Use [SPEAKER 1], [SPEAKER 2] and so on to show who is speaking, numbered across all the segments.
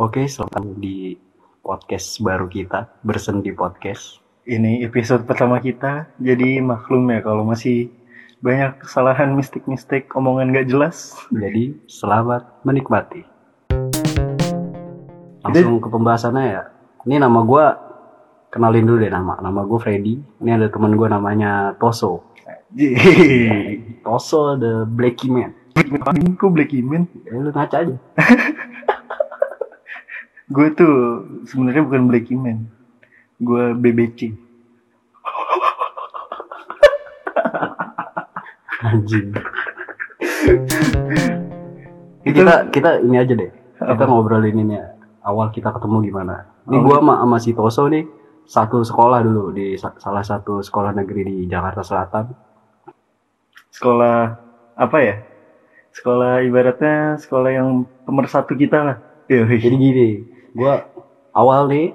[SPEAKER 1] Oke, selamat di podcast baru kita, Bersendi Podcast.
[SPEAKER 2] Ini episode pertama kita, jadi maklum ya kalau masih banyak kesalahan, mistik-mistik, omongan gak jelas.
[SPEAKER 1] Jadi, selamat menikmati. Langsung ke pembahasannya ya. Ini nama gue, kenalin dulu deh nama. Nama gue Freddy, ini ada teman gue namanya Toso.
[SPEAKER 2] Jih.
[SPEAKER 1] Toso the Blacky Man.
[SPEAKER 2] Apaan? Kok Black Iman?
[SPEAKER 1] Ya, lu ngaca aja.
[SPEAKER 2] Gue tuh sebenarnya bukan Black Iman. Gue BBC.
[SPEAKER 1] Anjing.
[SPEAKER 2] Itu-
[SPEAKER 1] kita kita ini aja deh. Kita
[SPEAKER 2] Apa?
[SPEAKER 1] ngobrolin ini ya. Awal kita ketemu gimana? Ini
[SPEAKER 2] Awal-
[SPEAKER 1] gua sama, sama si Toso nih satu sekolah dulu di sa- salah satu sekolah negeri di Jakarta Selatan.
[SPEAKER 2] Sekolah apa ya? Sekolah ibaratnya sekolah yang pemersatu kita lah.
[SPEAKER 1] Jadi
[SPEAKER 2] Yoi.
[SPEAKER 1] gini, gua awal nih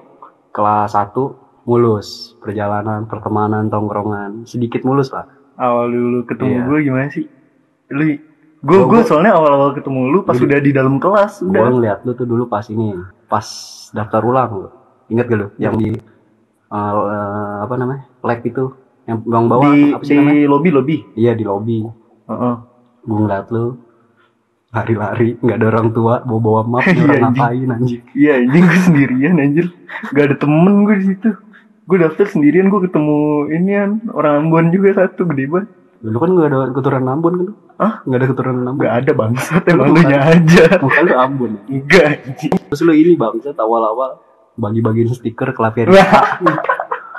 [SPEAKER 1] kelas 1 mulus, perjalanan, pertemanan, tongkrongan, sedikit mulus lah.
[SPEAKER 2] Awal dulu ketemu
[SPEAKER 1] Iya.
[SPEAKER 2] gue gimana sih? Lu gue
[SPEAKER 1] Gua-
[SPEAKER 2] gue soalnya awal-awal ketemu lu pas
[SPEAKER 1] Jadi-
[SPEAKER 2] udah di dalam kelas
[SPEAKER 1] Gua
[SPEAKER 2] udah.
[SPEAKER 1] ngeliat lu tuh dulu pas ini, pas daftar ulang lu. Ingat gak lu yang di eh, apa namanya? lab itu yang bang bawah
[SPEAKER 2] di
[SPEAKER 1] apa sih
[SPEAKER 2] di
[SPEAKER 1] namanya?
[SPEAKER 2] lobby lobby.
[SPEAKER 1] Iya di lobi.
[SPEAKER 2] Heeh.
[SPEAKER 1] Gue ngeliat lu lari-lari, nggak ada orang tua, bawa bawa map, nih orang
[SPEAKER 2] Iya, anjing.
[SPEAKER 1] ngapain anjing.
[SPEAKER 2] Iya anjing gue sendirian anjir Gak ada temen gue di situ. Gue daftar sendirian gue ketemu inian Orang Ambon juga satu gede banget
[SPEAKER 1] Dulu kan nggak ada keturunan Ambon kan? lu?
[SPEAKER 2] Hah?
[SPEAKER 1] Nggak ada keturunan Ambon.
[SPEAKER 2] Gak ada bangsat emang lu nya aja
[SPEAKER 1] Bukan lu Ambon. ya?
[SPEAKER 2] Enggak anjing
[SPEAKER 1] Terus lu ini bang, saya awal-awal bagi-bagiin stiker ke Lapian.
[SPEAKER 2] Wah,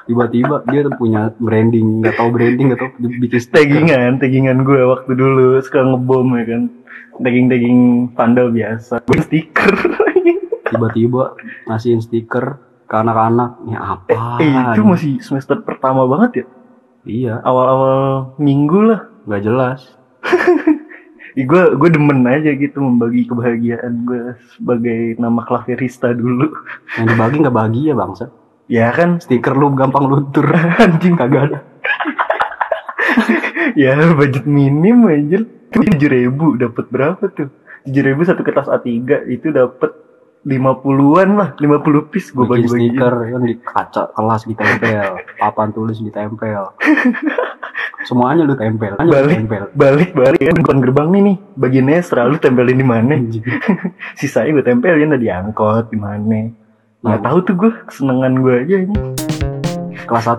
[SPEAKER 1] Tiba-tiba dia tuh punya branding, nggak tahu branding, nggak tahu bikin stiker.
[SPEAKER 2] Taggingan, taggingan gue waktu dulu Suka ngebom ya kan Tagging-tagging pandal biasa Gue stiker
[SPEAKER 1] Tiba-tiba ngasihin stiker ke anak-anak. Ini apa?
[SPEAKER 2] Eh itu masih semester pertama banget ya
[SPEAKER 1] Iya,
[SPEAKER 2] Awal-awal minggu lah
[SPEAKER 1] nggak jelas.
[SPEAKER 2] Gue gue demen aja gitu membagi kebahagiaan gue sebagai nama klaverista dulu.
[SPEAKER 1] Yang dibagi nggak bahagia bangsa.
[SPEAKER 2] Ya kan
[SPEAKER 1] Stiker lu gampang luntur,
[SPEAKER 2] anjing
[SPEAKER 1] kagak ada.
[SPEAKER 2] ya budget minim anjir itu tujuh ribu dapat berapa tuh tujuh ribu satu kertas A 3 itu dapat lima puluhan lah lima puluh piece gue
[SPEAKER 1] bikin
[SPEAKER 2] bagi bagi
[SPEAKER 1] stiker kan di kaca kelas ditempel papan tulis ditempel semuanya lu tempel hanya lu
[SPEAKER 2] Balik.
[SPEAKER 1] tempel
[SPEAKER 2] balik balik kan depan gerbang nih nih bagiannya selalu tempelin di mana
[SPEAKER 1] Anjing.
[SPEAKER 2] sisanya gue tempelin ada di angkot di mana nggak
[SPEAKER 1] Nah,
[SPEAKER 2] tahu tuh gue kesenangan gue aja ini
[SPEAKER 1] kelas 1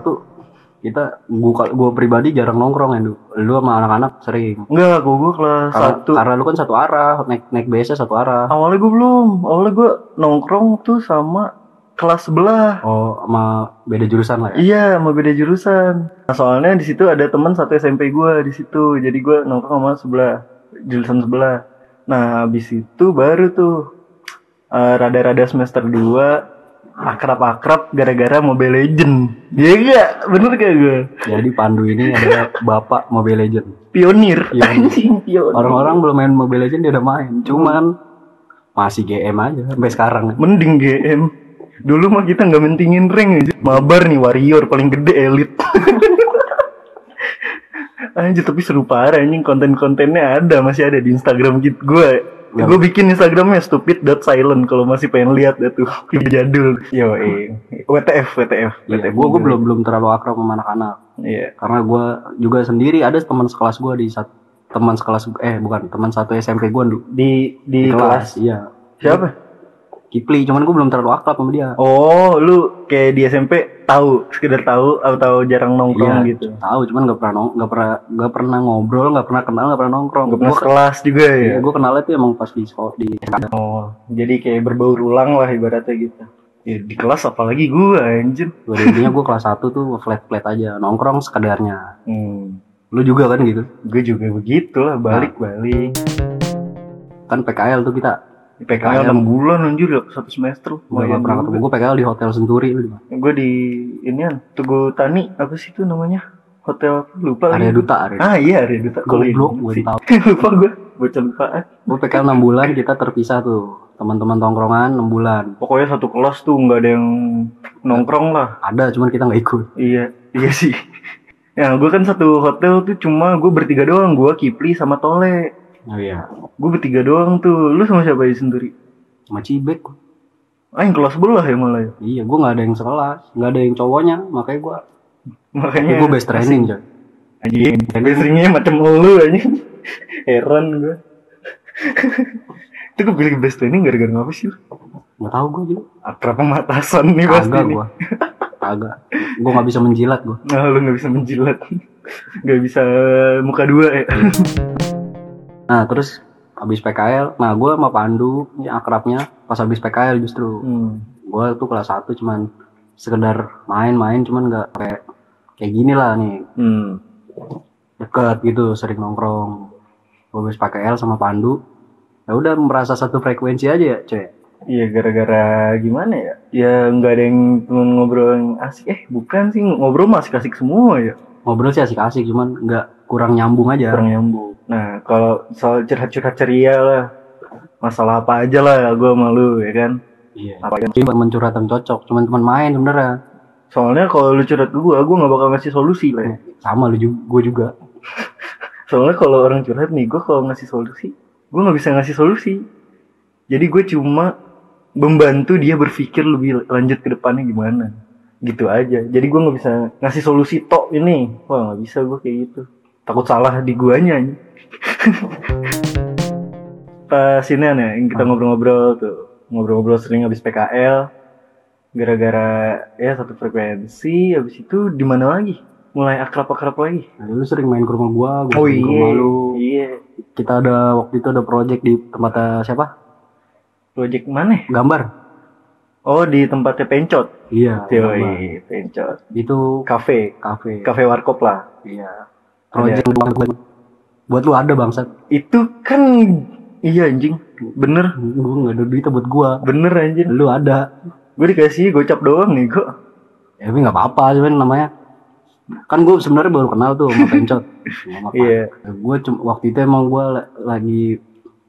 [SPEAKER 1] kita gua gua pribadi jarang nongkrong ya lu lu sama anak-anak sering
[SPEAKER 2] enggak gue gue kelas
[SPEAKER 1] karena,
[SPEAKER 2] satu
[SPEAKER 1] karena lu kan satu arah naik naik biasa satu arah
[SPEAKER 2] awalnya gue belum awalnya gue nongkrong tuh sama kelas sebelah
[SPEAKER 1] oh sama beda jurusan lah ya
[SPEAKER 2] Iya, mau beda jurusan. Nah, soalnya di situ ada teman satu SMP gua di situ, jadi gua nongkrong sama sebelah jurusan sebelah. Nah, habis itu baru tuh eh, rada-rada semester 2 akrab-akrab gara-gara Mobile Legend. Iya enggak? Bener gak gua?
[SPEAKER 1] jadi Pandu ini adalah bapak Mobile Legend
[SPEAKER 2] Pionir.
[SPEAKER 1] Iya.
[SPEAKER 2] Anjing pionir.
[SPEAKER 1] orang-orang belum main Mobile Legend dia udah main cuman masih GM aja sampai sekarang
[SPEAKER 2] mending GM. Dulu mah kita nggak mentingin ring aja. Mabar nih warrior paling gede elit. Anjir tapi seru parah anjing konten-kontennya ada masih ada di Instagram gitu gue.
[SPEAKER 1] Ya.
[SPEAKER 2] Gue bikin Instagramnya stupid.silent kalau masih pengen lihat ya tuh Video jadul. Yo eh, WTF WTF.
[SPEAKER 1] Iya, gua
[SPEAKER 2] ya.
[SPEAKER 1] gua belum belum terlalu akrab sama anak-anak
[SPEAKER 2] Iya.
[SPEAKER 1] karena gue juga sendiri ada teman sekelas gue di sat- teman sekelas eh bukan teman satu SMP gue dulu
[SPEAKER 2] Di di, kelas.
[SPEAKER 1] iya
[SPEAKER 2] Siapa?
[SPEAKER 1] Kipli cuman gue belum terlalu akrab sama dia
[SPEAKER 2] Oh, lu kayak di SMP tahu, sekedar tahu atau jarang nongkrong
[SPEAKER 1] Iya.
[SPEAKER 2] gitu.
[SPEAKER 1] tahu cuman nggak pernah nong- nggak pernah nggak pernah ngobrol nggak pernah kenal nggak pernah nongkrong
[SPEAKER 2] Gak pernah sekelas juga ya.
[SPEAKER 1] gue kenalnya tuh emang pas di sekolah di SMK.
[SPEAKER 2] Oh, jadi kayak berbaur ulang lah ibaratnya gitu. Ya, di kelas apalagi gua anjir.
[SPEAKER 1] Gua intinya gue kelas 1 tuh flat flat aja nongkrong sekadarnya
[SPEAKER 2] Hmm,
[SPEAKER 1] lu juga kan gitu
[SPEAKER 2] gue juga begitu lah balik-balik.
[SPEAKER 1] kan PKL tuh kita
[SPEAKER 2] Di PKL
[SPEAKER 1] Ayam.
[SPEAKER 2] 6 bulan anjir ya, satu semester.
[SPEAKER 1] udah nggak pernah ketemu gue PKL di Hotel Senturi lu di mana?
[SPEAKER 2] Gue di inian Tugu Tani apa sih itu namanya? Hotel apa? lupa
[SPEAKER 1] area
[SPEAKER 2] lagi.
[SPEAKER 1] duta area
[SPEAKER 2] Ah iya Area Duta. Gua
[SPEAKER 1] goblok
[SPEAKER 2] ingat
[SPEAKER 1] gue
[SPEAKER 2] sih.
[SPEAKER 1] tahu
[SPEAKER 2] lupa gue. Bocah lupaan.
[SPEAKER 1] gue PKL 6 bulan kita terpisah tuh teman-teman tongkrongan 6 bulan
[SPEAKER 2] Pokoknya satu kelas tuh nggak ada yang nongkrong lah.
[SPEAKER 1] ada cuman kita nggak ikut
[SPEAKER 2] Iya, iya sih. Ya gue kan satu hotel tuh cuma gue bertiga doang, gue Kipli sama Tole.
[SPEAKER 1] Oh iya,
[SPEAKER 2] Gue bertiga doang tuh. Lu sama siapa ya sendiri?
[SPEAKER 1] sama Cibek. gua.
[SPEAKER 2] Ah yang kelas sebelah ya malah ya.
[SPEAKER 1] Iya, gue nggak ada yang sekelas, nggak ada yang cowoknya, makanya gue,
[SPEAKER 2] Makanya
[SPEAKER 1] gue best training coy.
[SPEAKER 2] Anjing, basringnya macam lu anjing. Heran gue. itu gue pilih best training gara-gara ngapa sih? lu?
[SPEAKER 1] Nggak tahu gue juga.
[SPEAKER 2] Akrab pematasan nih pasti
[SPEAKER 1] Agak
[SPEAKER 2] nih.
[SPEAKER 1] gue, agak. Gue nggak bisa menjilat gue.
[SPEAKER 2] Nah, lu gak bisa menjilat. gak bisa muka dua ya.
[SPEAKER 1] Nah terus habis PKL, nah gue sama Pandu ini akrabnya pas habis PKL justru.
[SPEAKER 2] Hmm.
[SPEAKER 1] Gue tuh kelas 1 cuman sekedar main-main cuman nggak kayak kayak gini lah nih
[SPEAKER 2] Hmm.
[SPEAKER 1] deket gitu sering nongkrong gue habis PKL sama Pandu ya udah merasa satu frekuensi aja ya cuy
[SPEAKER 2] Iya gara-gara gimana ya? Ya nggak ada yang temen ngobrol yang asik. Eh bukan sih ngobrol masih asik semua ya.
[SPEAKER 1] ngobrol sih asik-asik cuman nggak kurang nyambung aja
[SPEAKER 2] Kurang nyambung. Nah kalau soal curhat-curhat ceria lah. Masalah apa aja lah gue malu ya kan.
[SPEAKER 1] iya
[SPEAKER 2] Apa aja.
[SPEAKER 1] tapi teman curhat yang cocok cuman teman main ya. sebenarnya
[SPEAKER 2] Soalnya kalau lu curhat ke gue, gue nggak bakal ngasih solusi lah. Ya.
[SPEAKER 1] sama lu juga gue juga
[SPEAKER 2] Soalnya kalau orang curhat nih, gue kalau ngasih solusi, gue nggak bisa ngasih solusi. Jadi gue cuma membantu dia berpikir lebih lanjut ke depannya gimana. Gitu aja. Jadi gue nggak bisa ngasih solusi tok ini. Wah nggak bisa gue kayak gitu. Takut salah di guanya. anjing. Pas ini ya, yang kita ngobrol-ngobrol tuh. Ngobrol-ngobrol sering habis PKL. Gara-gara ya satu frekuensi, habis itu di mana lagi? Mulai akrab-akrab lagi.
[SPEAKER 1] Nah, lu sering main ke rumah gua, gua sering ke rumah lu.
[SPEAKER 2] Oh Iya.
[SPEAKER 1] Kita ada waktu itu ada project di tempatnya siapa?
[SPEAKER 2] Project mana?
[SPEAKER 1] Gambar.
[SPEAKER 2] Oh, di tempatnya Pencot.
[SPEAKER 1] Iya. gambar.
[SPEAKER 2] Yoi, Pencot.
[SPEAKER 1] Itu
[SPEAKER 2] Cafe.
[SPEAKER 1] kafe.
[SPEAKER 2] Cafe Warkop lah.
[SPEAKER 1] Iya. Project buat gua. Buat lu ada bangsat.
[SPEAKER 2] Itu kan iya anjing. Bener.
[SPEAKER 1] Gua nggak ada duitnya buat gua. Ya,
[SPEAKER 2] Bener anjing.
[SPEAKER 1] Lu ada.
[SPEAKER 2] Gue dikasih gocap doang nih kok.
[SPEAKER 1] Ya, tapi nggak apa-apa cuman namanya. Kan gua sebenarnya baru kenal tuh sama Pencot. Sama Pak. Ya,
[SPEAKER 2] Iya.
[SPEAKER 1] Gua cuma waktu itu emang gua la- lagi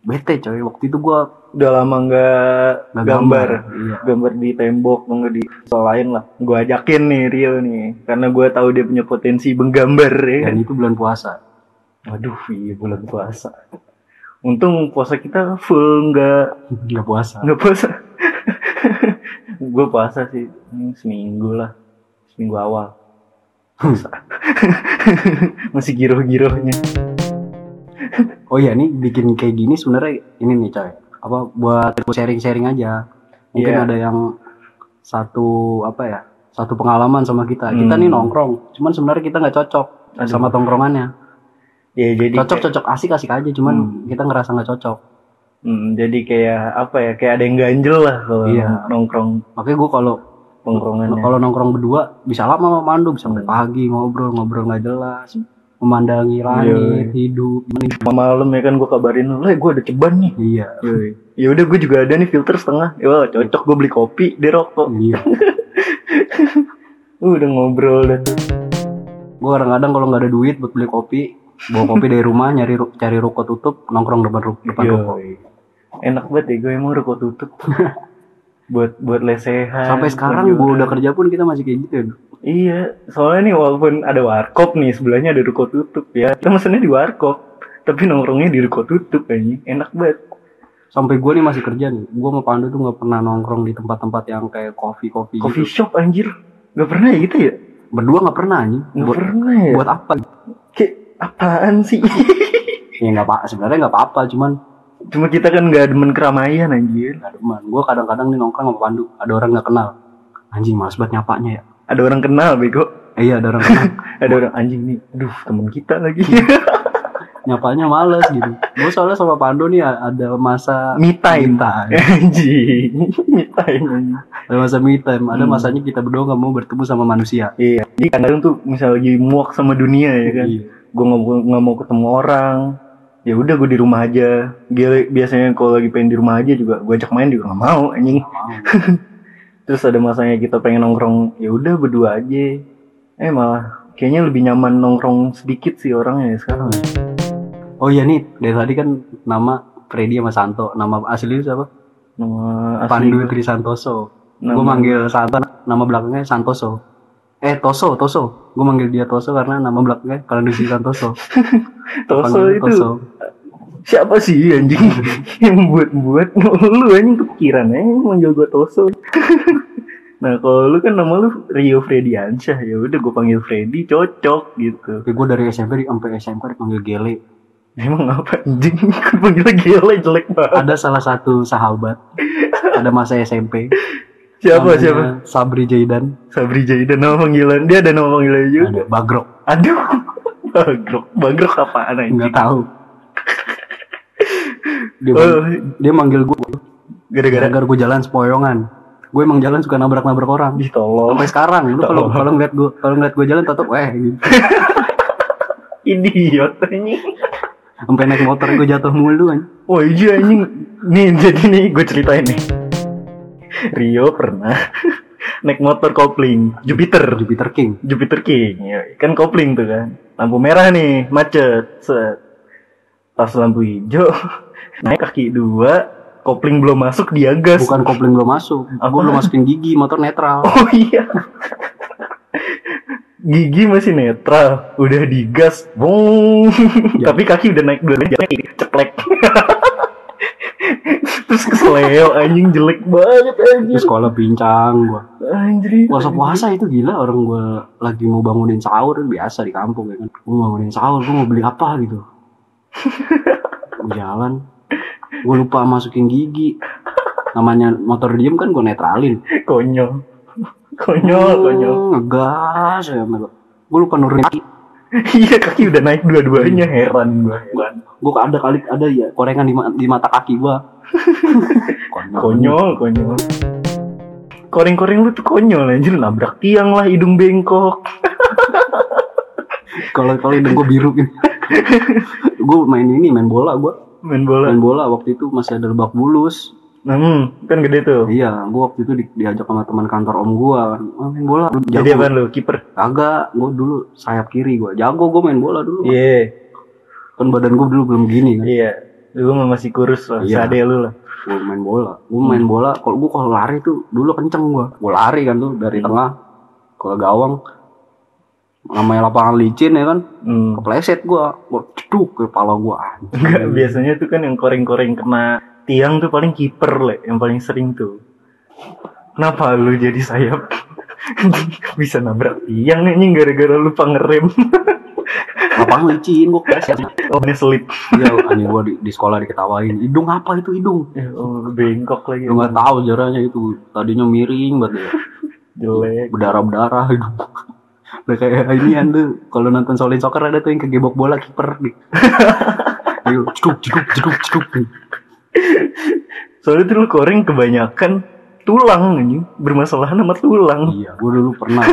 [SPEAKER 1] bete coy. Waktu itu gua
[SPEAKER 2] Udah lama nggak
[SPEAKER 1] nggak
[SPEAKER 2] gambar.
[SPEAKER 1] Iya.
[SPEAKER 2] Gambar di tembok, nggak di soal lain lah. Gue ajakin nih Rio nih. Karena gue tahu dia punya potensi menggambar ya
[SPEAKER 1] Iya.
[SPEAKER 2] kan.
[SPEAKER 1] Dan itu bulan puasa.
[SPEAKER 2] Aduh, iya bulan puasa. Untung puasa kita full nggak
[SPEAKER 1] Nggak puasa.
[SPEAKER 2] nggak puasa gue puasa sih Hmm, seminggu lah seminggu awal masih giroh-girohnya
[SPEAKER 1] Oh iya nih bikin kayak gini sebenarnya ini nih coy. Apa buat sharing-sharing aja. Mungkin
[SPEAKER 2] Iya.
[SPEAKER 1] ada yang satu apa ya? Satu pengalaman sama kita. Kita
[SPEAKER 2] Hmm.
[SPEAKER 1] nih nongkrong, cuman sebenarnya kita nggak cocok
[SPEAKER 2] Aduh.
[SPEAKER 1] sama tongkrongannya.
[SPEAKER 2] ya jadi kayak-
[SPEAKER 1] Cocok-cocok asik-asik aja, cuman kita ngerasa nggak cocok.
[SPEAKER 2] Hmm, jadi kayak apa ya kayak ada yang ganjel lah kalau
[SPEAKER 1] Iya.
[SPEAKER 2] nongkrong ya.
[SPEAKER 1] Makanya gue kalau
[SPEAKER 2] nongkrongannya
[SPEAKER 1] kalau nongkrong berdua bisa lama sama Mandu, bisa sampai
[SPEAKER 2] Hmm. Iya,
[SPEAKER 1] pagi ngobrol, ngobrol nggak jelas, memandangi langit, hidup.
[SPEAKER 2] Malam- malam ya kan gue kabarin lah gue ada ceban nih
[SPEAKER 1] Iya.
[SPEAKER 2] ya udah gue juga ada nih filter setengah ya wah, cocok gue beli kopi dia rokok
[SPEAKER 1] Iya.
[SPEAKER 2] Uh, udah ngobrol dah tuh.
[SPEAKER 1] gue kadang-kadang kalau nggak ada duit buat beli kopi bawa kopi dari rumah nyari ru- cari ruko tutup nongkrong depan ru- depan ruko
[SPEAKER 2] Yoi. enak banget ya gue emang rokok tutup buat buat lesehan
[SPEAKER 1] sampai sekarang
[SPEAKER 2] buat
[SPEAKER 1] gue udah kerja pun kita masih kayak gitu ya
[SPEAKER 2] Iya, soalnya nih walaupun ada warkop nih, sebelahnya ada ruko tutup ya. Kita mesennya di warkop, tapi nongkrongnya di ruko tutup kayaknya. Enak banget.
[SPEAKER 1] sampai gue nih masih kerja nih gue sama Pandu tuh nggak pernah nongkrong di tempat-tempat yang kayak kopi kopi
[SPEAKER 2] Coffee shop anjir. Gak pernah ya gitu ya?
[SPEAKER 1] berdua nggak pernah nih
[SPEAKER 2] Gak
[SPEAKER 1] buat
[SPEAKER 2] pernah ya?
[SPEAKER 1] buat apa
[SPEAKER 2] Kayak apaan sih?
[SPEAKER 1] ya nggak apa sebenarnya nggak apa-apa cuman
[SPEAKER 2] Cuma kita kan gak demen keramaian anjir.
[SPEAKER 1] nggak demen gue kadang-kadang nih nongkrong sama Pandu ada orang nggak kenal anjing males banget nyapanya ya
[SPEAKER 2] Ada orang kenal bego.
[SPEAKER 1] eh, iya ada orang kenal
[SPEAKER 2] Ada orang anjing nih. Aduh, temen kita lagi.
[SPEAKER 1] nyapanya males gitu gue soalnya sama Pandu nih a- ada masa
[SPEAKER 2] Me time.
[SPEAKER 1] minta
[SPEAKER 2] Anjing. Me time. anjing.
[SPEAKER 1] ada masa me time, ada
[SPEAKER 2] Hmm.
[SPEAKER 1] masanya kita berdua nggak mau bertemu sama manusia.
[SPEAKER 2] Iya. Jadi kadang tuh misal lagi muak sama dunia ya kan.
[SPEAKER 1] Iya.
[SPEAKER 2] gue nggak mau- nggak mau ketemu orang ya udah gue di rumah aja Dia- biasanya kalau lagi pengen di rumah aja juga gue ajak main juga nggak mau anjing terus ada masanya kita pengen nongkrong ya udah berdua aja eh malah kayaknya lebih nyaman nongkrong sedikit sih orangnya ya sekarang
[SPEAKER 1] Oh iya nih, dari tadi kan nama Freddy sama Santo, nama asli lu siapa?
[SPEAKER 2] nama asli
[SPEAKER 1] Pandu
[SPEAKER 2] gua-
[SPEAKER 1] Tri Santoso.
[SPEAKER 2] nama-
[SPEAKER 1] Gue manggil Santo, nama belakangnya Santoso. eh Toso Toso gue manggil dia Toso karena nama belakangnya kalau disingkat Toso
[SPEAKER 2] Toso
[SPEAKER 1] Panggil
[SPEAKER 2] itu siapa sih anjing yang buat buat lu anjing kepikiran eh manggil gua Toso nah kalau lu kan nama lu Rio Frediansyah ya udah gua panggil Freddy cocok gitu
[SPEAKER 1] tapi gue dari SMP di- sampai SMK dipanggil Gele
[SPEAKER 2] emang apa anjing Gua panggil gila jelek banget
[SPEAKER 1] ada salah satu sahabat ada masa SMP
[SPEAKER 2] siapa
[SPEAKER 1] namanya
[SPEAKER 2] siapa
[SPEAKER 1] Sabri Jaidan
[SPEAKER 2] Sabri Jaidan nama panggilan dia ada nama panggilan juga
[SPEAKER 1] ada Bagrok
[SPEAKER 2] aduh bagrok bagrok apaan anjing
[SPEAKER 1] nggak tahu dia,
[SPEAKER 2] oh,
[SPEAKER 1] dia manggil gue
[SPEAKER 2] gara-gara
[SPEAKER 1] gara-gara gue jalan sepoyongan gue emang jalan suka nabrak-nabrak orang
[SPEAKER 2] ditolong
[SPEAKER 1] sampai sekarang lu kalau
[SPEAKER 2] Tolong.
[SPEAKER 1] kalau ngeliat gue kalau ngeliat gue jalan tetap eh gitu.
[SPEAKER 2] idiot anjing
[SPEAKER 1] sampai naik motor gue jatuh mulu kan
[SPEAKER 2] Wah iya anjing Nih jadi nih gue ceritain nih Rio pernah Naik motor kopling Jupiter
[SPEAKER 1] Jupiter King
[SPEAKER 2] Jupiter King yoi. Kan kopling tuh kan Lampu merah nih Macet Set Pas lampu hijau Naik kaki dua Kopling belum masuk dia gas
[SPEAKER 1] bukan kopling belum masuk gue
[SPEAKER 2] Apaan?
[SPEAKER 1] belum masukin gigi motor netral
[SPEAKER 2] Oh iya Gigi masih netral Udah digas Bung
[SPEAKER 1] Ya.
[SPEAKER 2] Tapi kaki udah naik dua jari Ceplek Terus keseleo anjing jelek banget
[SPEAKER 1] di
[SPEAKER 2] anjing
[SPEAKER 1] sekolah pincang gue
[SPEAKER 2] Anjir
[SPEAKER 1] puasa puasa
[SPEAKER 2] iya.
[SPEAKER 1] itu gila orang gue lagi mau bangunin sahur biasa di kampung ya kan gue bangunin sahur gue mau beli apa gitu gue jalan gue lupa masukin gigi namanya motor diem kan gue netralin
[SPEAKER 2] Konyol Konyol
[SPEAKER 1] Hmm,
[SPEAKER 2] konyol
[SPEAKER 1] ngegas ya gue lupa nurunin kaki
[SPEAKER 2] Iya kaki udah naik dua-duanya
[SPEAKER 1] Iya.
[SPEAKER 2] Heran gua heran
[SPEAKER 1] gue ada kali ada ya korengan di, ma- di mata kaki gue konyol,
[SPEAKER 2] Konyol konyol Koreng-koreng lu tuh konyol anjir Nabrak tiang lah hidung bengkok
[SPEAKER 1] kalau kalau hidung gue biru gitu gue main ini main bola gue
[SPEAKER 2] Main bola
[SPEAKER 1] main bola waktu itu masih ada lebak bulus
[SPEAKER 2] Hmm kan gede tuh
[SPEAKER 1] iya gue waktu itu di- diajak sama teman kantor om gue main bola Lu
[SPEAKER 2] Jadi
[SPEAKER 1] jago
[SPEAKER 2] apaan lu kiper?
[SPEAKER 1] kagak gue dulu sayap kiri gue jago gue main bola dulu
[SPEAKER 2] Iya.
[SPEAKER 1] kan badan gue dulu belum gini kan
[SPEAKER 2] Iya, lu mah masih kurus lah,
[SPEAKER 1] Iya.
[SPEAKER 2] seadanya lu lah.
[SPEAKER 1] gue main bola gue
[SPEAKER 2] Hmm.
[SPEAKER 1] main bola kalau gue kalau lari tuh dulu kenceng gue gue lari kan tuh
[SPEAKER 2] Hmm.
[SPEAKER 1] dari tengah ke gawang namanya lapangan licin ya kan
[SPEAKER 2] Hmm.
[SPEAKER 1] kepleset gue gue ceduk ke kepala gue
[SPEAKER 2] Enggak, biasanya tuh kan yang koreng-koreng kena tiang tuh paling kiper lah, yang paling sering tuh. Kenapa lu jadi sayap? Bisa nabrak tiang anjing gara-gara lupa ngerem.
[SPEAKER 1] lapangan licin gue kepleset
[SPEAKER 2] oh, ini selip.
[SPEAKER 1] iya anjing gue di, di sekolah diketawain hidung apa itu hidung
[SPEAKER 2] Ya, Oh, bengkok lagi.
[SPEAKER 1] lu nggak tahu jaranya itu tadinya miring banget ya
[SPEAKER 2] Jelek.
[SPEAKER 1] berdarah berdarah hidung gitu. Udah kayak ini tuh kalau nonton Solid Soccer ada tuh yang kegebok bola kiper nih Ayo, ceduk, ceduk, ceduk, ceduk.
[SPEAKER 2] Soalnya tuh lu koreng kebanyakan tulang anjing, bermasalahan sama tulang.
[SPEAKER 1] Iya, gue dulu pernah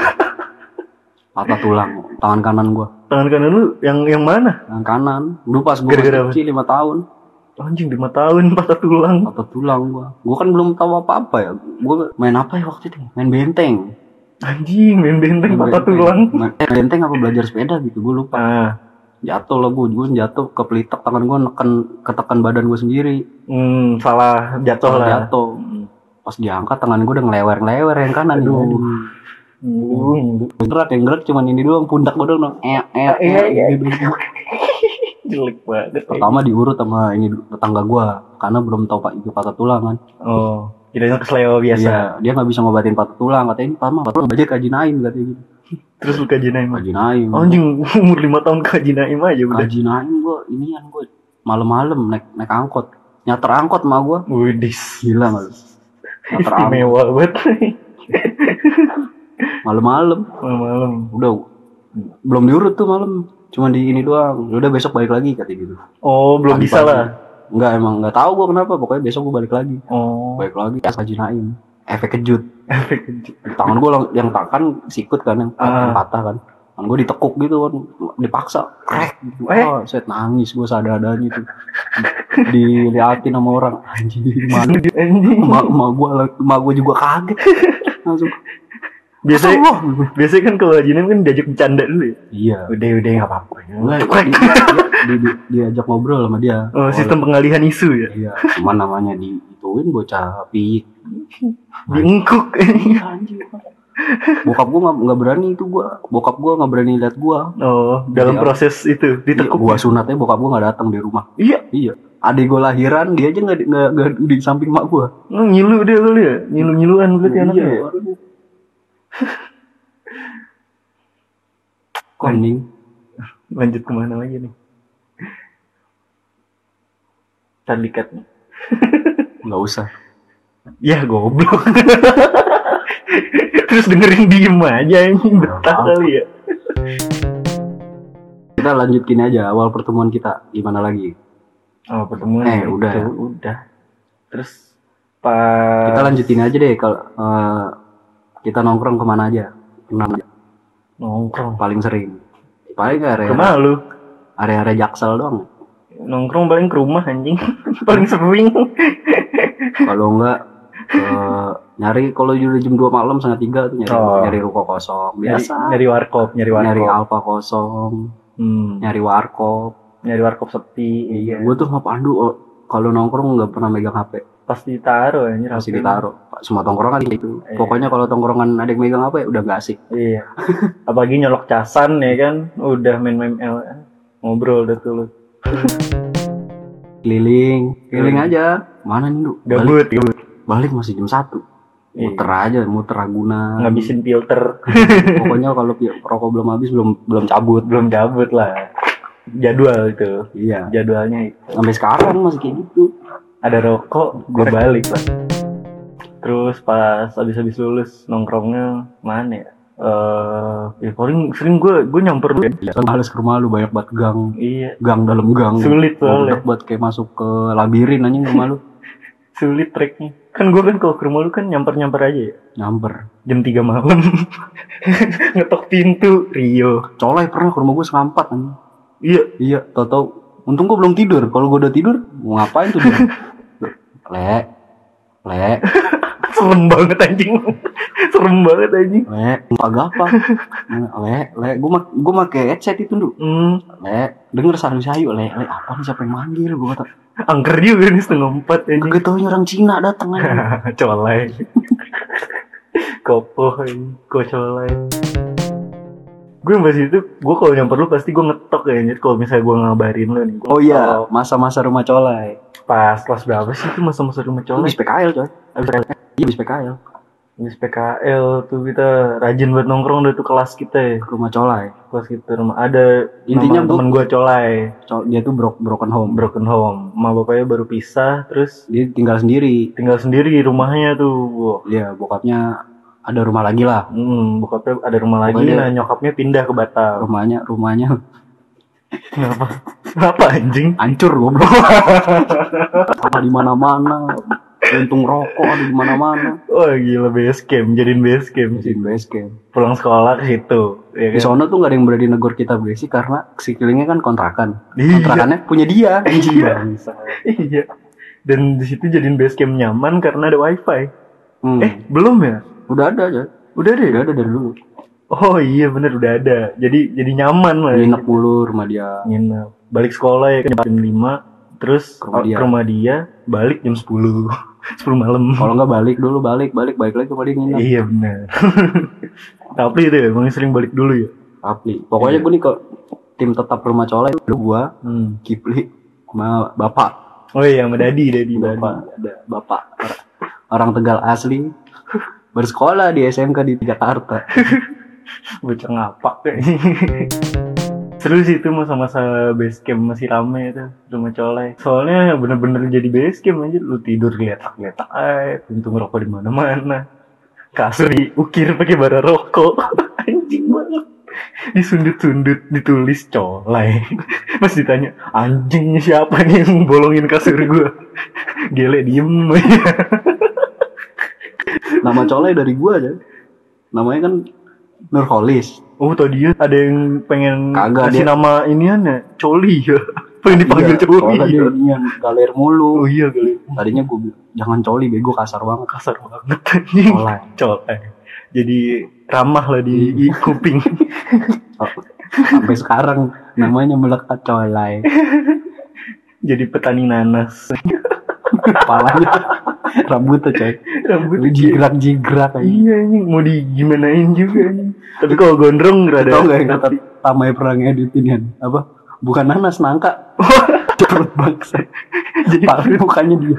[SPEAKER 1] patah tulang tangan kanan gue,
[SPEAKER 2] Tangan kanan lu yang yang mana?
[SPEAKER 1] tangan kanan. Dulu pas gue
[SPEAKER 2] Gara-gara apa?
[SPEAKER 1] masih kecil lima tahun
[SPEAKER 2] Anjing 5 tahun patah tulang.
[SPEAKER 1] patah tulang gue. Gue kan belum tahu apa apa ya. Gue main apa ya waktu itu? Main benteng.
[SPEAKER 2] Anjing, main benteng
[SPEAKER 1] Main
[SPEAKER 2] patah tulang.
[SPEAKER 1] Main eh, benteng apa belajar sepeda gitu? Gue lupa.
[SPEAKER 2] Ah,
[SPEAKER 1] Jatuh lah gue, gue jatuh ke pelitek tangan gue neken ketekan badan gue sendiri.
[SPEAKER 2] Hmm, salah jatuh lah.
[SPEAKER 1] Jatuh. Pas diangkat tangan gue udah ngelewer-ngelewer yang kanan.
[SPEAKER 2] Aduh.
[SPEAKER 1] Aduh.
[SPEAKER 2] Hmm,
[SPEAKER 1] Gerak yang gerak cuman ini doang pundak gue doang. dong. Eh, eh,
[SPEAKER 2] Eh, eh,
[SPEAKER 1] eh,
[SPEAKER 2] eh.
[SPEAKER 1] gitu.
[SPEAKER 2] jelek banget. ya.
[SPEAKER 1] pertama diurut sama ini dulu, tetangga gua karena belum tahu pak itu patah tulang kan
[SPEAKER 2] Oh, kirain kesleo biasa.
[SPEAKER 1] Iya, dia nggak bisa ngobatin patah tulang katanya ini pama patah tulang aja kaji naim katanya gitu
[SPEAKER 2] Terus lu kaji Naim.
[SPEAKER 1] kaji naim
[SPEAKER 2] Oh, Anjing, umur 5 tahun kaji Naim aja udah.
[SPEAKER 1] kaji naim gua inian gua malam-malam naik naik angkot nyater angkot sama gua
[SPEAKER 2] Widis.
[SPEAKER 1] gila malu nyater angkot
[SPEAKER 2] Istimewa banget.
[SPEAKER 1] malam-malam
[SPEAKER 2] Malam-malam.
[SPEAKER 1] udah belum diurut tuh malam cuman di ini doang udah besok balik lagi katanya gitu
[SPEAKER 2] Oh, belum bisa
[SPEAKER 1] Pagi-pagi.
[SPEAKER 2] lah.
[SPEAKER 1] nggak emang nggak tahu gua kenapa pokoknya besok gua balik lagi
[SPEAKER 2] Oh,
[SPEAKER 1] balik lagi pas kaji naim efek kejut
[SPEAKER 2] efek kejut.
[SPEAKER 1] tangan gue yang tangan kan sikut kan yang,
[SPEAKER 2] Ah.
[SPEAKER 1] yang patah kan tangan gue ditekuk gitu kan dipaksa krek gitu
[SPEAKER 2] Eh.
[SPEAKER 1] oh, set nangis gue sadar adanya tuh diliatin sama orang anjing malu
[SPEAKER 2] Anjing.
[SPEAKER 1] emak emak gue emak gue juga kaget langsung
[SPEAKER 2] Biasanya
[SPEAKER 1] "Astagfirullah."
[SPEAKER 2] biasanya kan kalau kaji Naim kan diajak bercanda dulu ya.
[SPEAKER 1] iya
[SPEAKER 2] Udah, udah nggak apa-apa. ya.
[SPEAKER 1] Enggak,
[SPEAKER 2] Krek.
[SPEAKER 1] dia- dia- dia- dia- diajak ngobrol sama dia
[SPEAKER 2] Oh, sistem pengalihan isu ya.
[SPEAKER 1] iya cuman namanya diituin bocah piik
[SPEAKER 2] Nah. Bingkuk.
[SPEAKER 1] Iya, anjing bokap gue nggak nggak berani itu gue bokap gue nggak berani lihat gue
[SPEAKER 2] Oh, dalam
[SPEAKER 1] Iya.
[SPEAKER 2] proses itu ditekuk. ya?
[SPEAKER 1] gue sunatnya bokap gue nggak datang di rumah
[SPEAKER 2] Iya,
[SPEAKER 1] iya adik gue lahiran dia aja nggak di- nggak nggak di samping mak gue
[SPEAKER 2] lu ngilu dia lu ya, ngilu-ngiluan berarti
[SPEAKER 1] Iya,
[SPEAKER 2] anaknya. ya?
[SPEAKER 1] waduh. Kok anjing?
[SPEAKER 2] Lanjut kemana lagi nih? Tadi cut nih.
[SPEAKER 1] Nggak usah.
[SPEAKER 2] Ya goblok. Terus dengerin diem aja anjing betah
[SPEAKER 1] Apa?
[SPEAKER 2] kali ya.
[SPEAKER 1] Kita lanjutin aja awal pertemuan kita. Gimana lagi?
[SPEAKER 2] Oh, pertemuan
[SPEAKER 1] Eh, udah
[SPEAKER 2] itu,
[SPEAKER 1] ya?
[SPEAKER 2] udah. Terus pas
[SPEAKER 1] Kita lanjutin aja deh kalau eh, kita nongkrong kemana aja. Enam aja,
[SPEAKER 2] nongkrong.
[SPEAKER 1] paling sering. Paling ke area
[SPEAKER 2] Rumah lu.
[SPEAKER 1] area, area Jaksel doang.
[SPEAKER 2] Nongkrong paling ke rumah anjing. paling sering.
[SPEAKER 1] Kalau enggak eh, nyari kalau udah jam 2 malam setengah tiga tuh nyari,
[SPEAKER 2] Oh.
[SPEAKER 1] nyari ruko kosong
[SPEAKER 2] nyari,
[SPEAKER 1] biasa. Nyari,
[SPEAKER 2] nyari warkop, nyari warkop.
[SPEAKER 1] alfa kosong,
[SPEAKER 2] Hmm,
[SPEAKER 1] nyari warkop.
[SPEAKER 2] nyari warkop sepi. Iya.
[SPEAKER 1] Gue tuh sama Pandu oh, kalau nongkrong nggak pernah megang HP.
[SPEAKER 2] Pasti ditaruh anjir.
[SPEAKER 1] masih
[SPEAKER 2] HP.
[SPEAKER 1] ditaruh semua tongkrongan gitu
[SPEAKER 2] Iya.
[SPEAKER 1] pokoknya kalau tongkrongan ada yang megang apa ya udah gak asik
[SPEAKER 2] Iya. Apalagi nyolok casan ya kan. Udah main main L ya. ngobrol udah tuh lu.
[SPEAKER 1] keliling keliling
[SPEAKER 2] Hmm.
[SPEAKER 1] aja mana nih Duk? balik,
[SPEAKER 2] Gabut, gabut.
[SPEAKER 1] balik masih jam satu
[SPEAKER 2] Iya.
[SPEAKER 1] muter aja muter raguna
[SPEAKER 2] Ngabisin filter.
[SPEAKER 1] pokoknya kalau pi- rokok belum habis belum belum cabut
[SPEAKER 2] Belum cabut lah. Jadwal itu.
[SPEAKER 1] iya
[SPEAKER 2] Jadwalnya itu.
[SPEAKER 1] sampai sekarang masih kayak gitu
[SPEAKER 2] Ada rokok, gue balik lah. Terus pas abis-abis lulus nongkrongnya mana ya? Eh, ya paling sering gue gue nyamper dulu. ya.
[SPEAKER 1] kan males ke rumah lu banyak banget gang
[SPEAKER 2] Iya,
[SPEAKER 1] gang dalam gang
[SPEAKER 2] sulit
[SPEAKER 1] Goblok
[SPEAKER 2] soalnya.
[SPEAKER 1] buat kayak masuk ke labirin anjing rumah lu
[SPEAKER 2] Sulit treknya. Kan gue kan kalau ke rumah lu kan nyamper-nyamper aja ya.
[SPEAKER 1] nyamper
[SPEAKER 2] Jam 3 malam. Ngetok pintu, Rio.
[SPEAKER 1] colai pernah ke rumah gue setengah empat anjing.
[SPEAKER 2] Iya,
[SPEAKER 1] Iya, tau tau. Untung gue belum tidur. Kalau gue udah tidur, mau ngapain tuh? dia? le, le,
[SPEAKER 2] serem banget anjing. serem banget anjing.
[SPEAKER 1] le, pagi apa? Le, le, gue mak gue make headset itu dulu.
[SPEAKER 2] Hmm,
[SPEAKER 1] Le, denger saru sayu, le, le, apa nih siapa yang manggil? Gue kata,
[SPEAKER 2] angker juga nih setengah empat anjing.
[SPEAKER 1] kagak tau orang Cina datang aja.
[SPEAKER 2] colai. Kopo, kok colai. Gue masih itu, gue kalau nyamper lu pasti gue ngetok ya anjir. Kalau misalnya gue ngabarin lu nih. Gua
[SPEAKER 1] Oh iya,
[SPEAKER 2] ngetok.
[SPEAKER 1] masa-masa rumah colai.
[SPEAKER 2] Pas kelas berapa sih itu masa-masa rumah
[SPEAKER 1] Lu
[SPEAKER 2] colai?
[SPEAKER 1] bis PKL coy.
[SPEAKER 2] Abis
[SPEAKER 1] Iya bis PKL.
[SPEAKER 2] Miss PKL tuh kita rajin buat nongkrong udah tuh kelas kita ya.
[SPEAKER 1] Rumah colai.
[SPEAKER 2] Kelas kita rumah ada
[SPEAKER 1] Intinya
[SPEAKER 2] nama
[SPEAKER 1] gua-
[SPEAKER 2] temen gue colai
[SPEAKER 1] Col- dia tuh broke broken home.
[SPEAKER 2] broken home. Emak bapaknya baru pisah terus
[SPEAKER 1] Dia tinggal sendiri.
[SPEAKER 2] tinggal sendiri di rumahnya tuh. Wah,
[SPEAKER 1] Iya, bokapnya ada rumah lagi lah.
[SPEAKER 2] Hmm, bokapnya ada rumah lagi
[SPEAKER 1] Pokoknya-
[SPEAKER 2] nah nyokapnya pindah ke Batam.
[SPEAKER 1] Rumahnya, rumahnya
[SPEAKER 2] Kenapa? Kenapa anjing?
[SPEAKER 1] hancur goblok ada di mana mana untung rokok ada di mana mana
[SPEAKER 2] Wah gila base camp, jadiin base
[SPEAKER 1] di
[SPEAKER 2] camp sih.
[SPEAKER 1] base camp
[SPEAKER 2] Pulang sekolah ke situ, ya
[SPEAKER 1] di
[SPEAKER 2] kan?
[SPEAKER 1] sana tuh nggak ada yang berani negor kita berisik karena si kelingnya kan kontrakan
[SPEAKER 2] Iya.
[SPEAKER 1] kontrakannya punya dia anjing
[SPEAKER 2] Iya.
[SPEAKER 1] bangsa.
[SPEAKER 2] Iya. Dan di situ jadiin base camp nyaman karena ada wifi.
[SPEAKER 1] hmm.
[SPEAKER 2] Eh belum ya?
[SPEAKER 1] udah ada aja
[SPEAKER 2] Udah deh.
[SPEAKER 1] udah ada dari dulu
[SPEAKER 2] Oh iya bener udah ada. Jadi jadi nyaman lah.
[SPEAKER 1] nginep mulu rumah dia
[SPEAKER 2] Nginep. Balik sekolah ya kan jam 5 terus eh,
[SPEAKER 1] Ke rumah
[SPEAKER 2] ke
[SPEAKER 1] dia.
[SPEAKER 2] rumah dia balik jam 10. 10 malam.
[SPEAKER 1] kalau nggak balik dulu balik balik balik lagi paling nginep
[SPEAKER 2] Iya bener. Tapi itu ya emang sering balik dulu ya.
[SPEAKER 1] Apli pokoknya gue nih ke tim tetap rumah colai dulu gua
[SPEAKER 2] Hmm.
[SPEAKER 1] Kipli sama bapak
[SPEAKER 2] Oh iya sama Dadi Dadi
[SPEAKER 1] bapak
[SPEAKER 2] Dadi.
[SPEAKER 1] ada bapak Or- orang Tegal asli bersekolah di SMK di Jakarta
[SPEAKER 2] Bocah ngapak kayaknya. Seru sih itu masa-masa base camp masih rame itu rumah colai. Soalnya bener-bener jadi base camp aja lu tidur geletak-geletak aja, pintu ngerokok di mana-mana. Kasur diukir pakai bara rokok. Anjing banget. Disundut-sundut, ditulis colai. Mas ditanya, anjingnya siapa nih yang bolongin kasur gua? Gele diem aja.
[SPEAKER 1] Nama colai dari gua aja. Namanya kan Nurholis.
[SPEAKER 2] Oh tadi dia ada yang pengen
[SPEAKER 1] Kagak,
[SPEAKER 2] kasih
[SPEAKER 1] dia-
[SPEAKER 2] nama inian ya Coli ya Pengen dipanggil Coli
[SPEAKER 1] Iya, soalnya
[SPEAKER 2] ya.
[SPEAKER 1] dia inian, galer
[SPEAKER 2] Oh
[SPEAKER 1] mulu.
[SPEAKER 2] iya kali
[SPEAKER 1] Tadinya gua bilang, jangan coli bego kasar banget.
[SPEAKER 2] Kasar banget anjing
[SPEAKER 1] Colai.
[SPEAKER 2] Colai Jadi ramah lah di, di
[SPEAKER 1] Iya.
[SPEAKER 2] kuping
[SPEAKER 1] Oh, Sampai sekarang namanya melekat colai.
[SPEAKER 2] Jadi petani nanas
[SPEAKER 1] Kepalanya Rambutnya coy.
[SPEAKER 2] Rambut
[SPEAKER 1] Jigrak-jigrak aja.
[SPEAKER 2] Iya ini mau di gimanain juga nih. Tapi kalau gondrong rada.
[SPEAKER 1] Tau gak yang kata Tamai perang editin kan? Apa? Bukan nanas, nangka. Perut bangsa.
[SPEAKER 2] Jadi-
[SPEAKER 1] Tapi mukanya dia.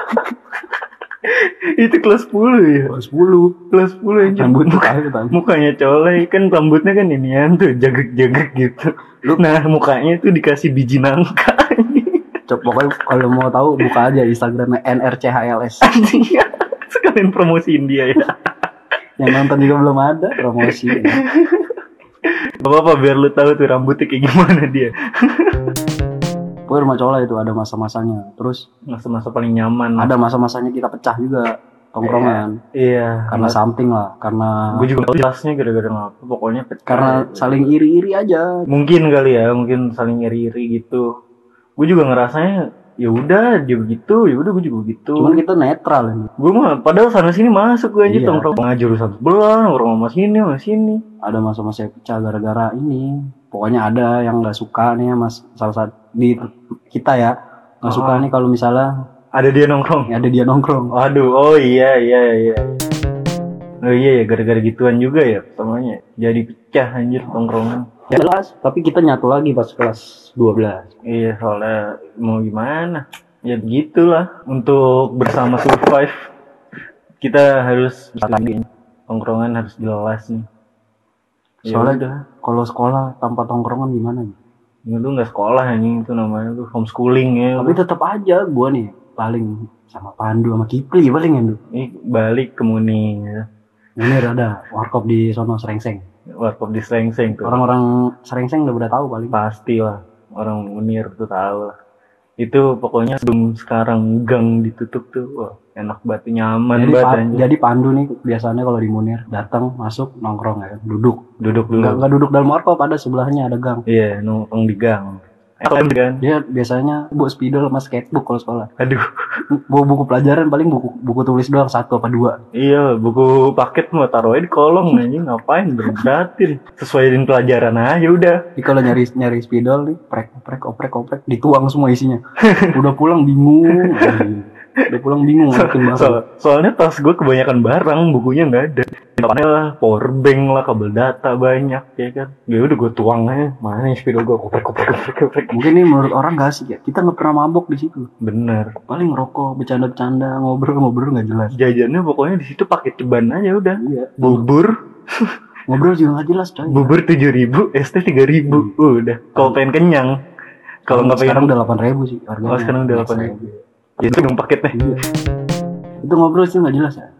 [SPEAKER 2] Itu kelas 10 ya.
[SPEAKER 1] Kelas 10.
[SPEAKER 2] Kelas 10 aja.
[SPEAKER 1] Rambut
[SPEAKER 2] Muka-
[SPEAKER 1] mukanya Tamai.
[SPEAKER 2] mukanya colek kan rambutnya kan inian tuh jagek-jagek gitu. Nah mukanya tuh dikasih biji nangka.
[SPEAKER 1] Cok, Pokoknya kalau mau tahu buka aja Instagramnya NRCHLS.
[SPEAKER 2] Anjing. Sekalian promosiin dia ya.
[SPEAKER 1] Yang nonton juga belum ada promosi. Ya.
[SPEAKER 2] Gak apa-apa biar lu tahu tuh rambutnya kayak gimana dia.
[SPEAKER 1] Pokoknya rumah cola itu ada masa-masanya. Terus
[SPEAKER 2] Masa-masa paling nyaman.
[SPEAKER 1] ada masa-masanya kita pecah juga tongkrongan
[SPEAKER 2] Hmm. Iya.
[SPEAKER 1] karena something lah karena
[SPEAKER 2] gue juga gak tahu jelasnya gara-gara ngapa. Pokoknya pecah.
[SPEAKER 1] karena saling iri-iri aja
[SPEAKER 2] mungkin kali ya mungkin saling iri-iri gitu gue juga ngerasanya ya udah dia begitu ya udah gue juga begitu
[SPEAKER 1] cuman kita netral ini
[SPEAKER 2] gue mah padahal sana sini masuk gue aja
[SPEAKER 1] Iya.
[SPEAKER 2] tongkrong sama jurusan sebelah nongkrong sama sini sama sini
[SPEAKER 1] ada masa-masa yang pecah gara-gara ini pokoknya ada yang nggak suka nih mas salah satu di kita ya nggak suka nih kalau misalnya
[SPEAKER 2] ada dia nongkrong
[SPEAKER 1] ada dia nongkrong
[SPEAKER 2] waduh oh iya iya iya oh iya ya gara-gara gituan juga ya pertamanya jadi pecah anjir tongkrongan
[SPEAKER 1] jelas tapi kita nyatu lagi pas kelas 12
[SPEAKER 2] iya soalnya mau gimana ya begitulah untuk bersama survive kita harus bersatu. tongkrongan harus jelas nih Ya
[SPEAKER 1] Soalnya-
[SPEAKER 2] udah.
[SPEAKER 1] kalau sekolah tanpa tongkrongan gimana nih
[SPEAKER 2] Ya, lu nggak sekolah anjing itu namanya lu homeschooling ya.
[SPEAKER 1] tapi tetap aja gua nih paling sama Pandu sama Kipli paling yang
[SPEAKER 2] Ih, balik ke Muning ya.
[SPEAKER 1] ini ada warkop di sono serengseng
[SPEAKER 2] Iya. Warkop di Slengseng tuh.
[SPEAKER 1] orang-orang serengseng udah pada tahu paling
[SPEAKER 2] Pasti lah orang Munir tuh tahu lah. Itu pokoknya sebelum sekarang gang ditutup tuh. Wah, enak banget nyaman
[SPEAKER 1] jadi,
[SPEAKER 2] banget
[SPEAKER 1] Pa-
[SPEAKER 2] anjing.
[SPEAKER 1] jadi Pandu nih biasanya kalau di Munir datang masuk nongkrong ya duduk
[SPEAKER 2] Duduk dulu.
[SPEAKER 1] nggak nggak duduk dalam warkop ada sebelahnya ada gang
[SPEAKER 2] Iya, nongkrong di gang. Enak kan?
[SPEAKER 1] dia biasanya bawa spidol sama sketchbook kalau sekolah
[SPEAKER 2] Aduh,
[SPEAKER 1] bawa buku pelajaran paling buku buku tulis doang satu apa dua
[SPEAKER 2] iya buku paket mau taruhnya di kolong anjing ngapain berberatin sesuaiin pelajaran aja udah.
[SPEAKER 1] jadi kalau nyari nyari spidol nih prek prek oprek oprek dituang semua isinya udah pulang bingung anjing. udah pulang bingung makin banget
[SPEAKER 2] So- soalnya tas gue kebanyakan barang, bukunya nggak ada. Depannya lah, power bank lah, kabel data banyak, ya kan. Ya udah gue tuang aja, mana yang spidol gue, koprek, koprek, koprek, koprek.
[SPEAKER 1] mungkin ini menurut orang gak asik ya kita nggak pernah mabok di situ
[SPEAKER 2] Bener.
[SPEAKER 1] paling ngerokok bercanda-bercanda ngobrol-ngobrol nggak jelas
[SPEAKER 2] Jajannya pokoknya di situ pakai ceban aja udah.
[SPEAKER 1] iya
[SPEAKER 2] Bubur,
[SPEAKER 1] ngobrol juga nggak jelas coy
[SPEAKER 2] bubur tujuh ribu, ST tiga ribu, udah. Kalau pengen kenyang, kalau
[SPEAKER 1] Hmm.
[SPEAKER 2] nggak
[SPEAKER 1] sekarang
[SPEAKER 2] pengen,
[SPEAKER 1] udah delapan ribu sih harganya.
[SPEAKER 2] Oh, sekarang udah 8.000. ya itu dong paketnya.
[SPEAKER 1] Iya. Itu ngobrol sih nggak jelas ya.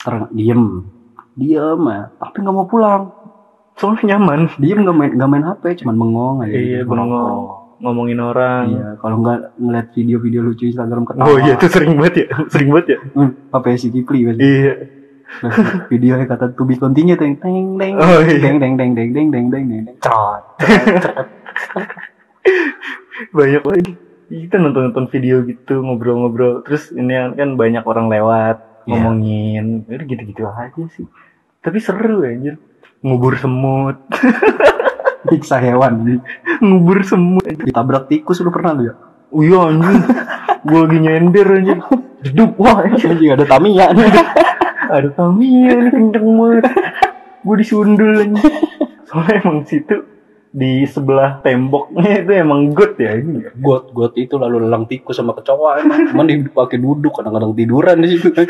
[SPEAKER 1] Ter diem, diem ya. Tapi nggak mau pulang.
[SPEAKER 2] Soalnya nyaman.
[SPEAKER 1] Diem nggak main nggak main HP, cuman bengong aja. Gitu,
[SPEAKER 2] Iya, bengong,
[SPEAKER 1] ngerokok.
[SPEAKER 2] ngomongin orang.
[SPEAKER 1] Iya, Ah. kalau nggak ngeliat video-video lucu Instagram ketawa.
[SPEAKER 2] Oh iya, itu sering banget ya, sering banget ya.
[SPEAKER 1] Hmm, apa ya, si Kikli biasanya.
[SPEAKER 2] Iya.
[SPEAKER 1] Nah, videonya kata to be continue teng teng teng
[SPEAKER 2] Oh, iya.
[SPEAKER 1] teng teng teng teng teng teng teng teng teng Cerot.
[SPEAKER 2] banyak lagi kita nonton nonton video gitu ngobrol-ngobrol terus ini kan banyak orang lewat
[SPEAKER 1] Iya.
[SPEAKER 2] ngomongin Ya udah gitu-gitu aja sih tapi seru anjir ngubur semut
[SPEAKER 1] Nyiksa hewan
[SPEAKER 2] ngubur semut
[SPEAKER 1] Ditabrak tikus lu pernah lu ya
[SPEAKER 2] oh iya anjir gue lagi nyender anjir jeduk wah anjir.
[SPEAKER 1] Anjing ada Tamiya nih
[SPEAKER 2] ada Tamiya nih kenceng banget gue disundul anjir soalnya emang situ di sebelah temboknya itu emang got ya ini
[SPEAKER 1] got got itu lalu lelang tikus sama kecoa emang cuman dipakai duduk kadang-kadang tiduran di situ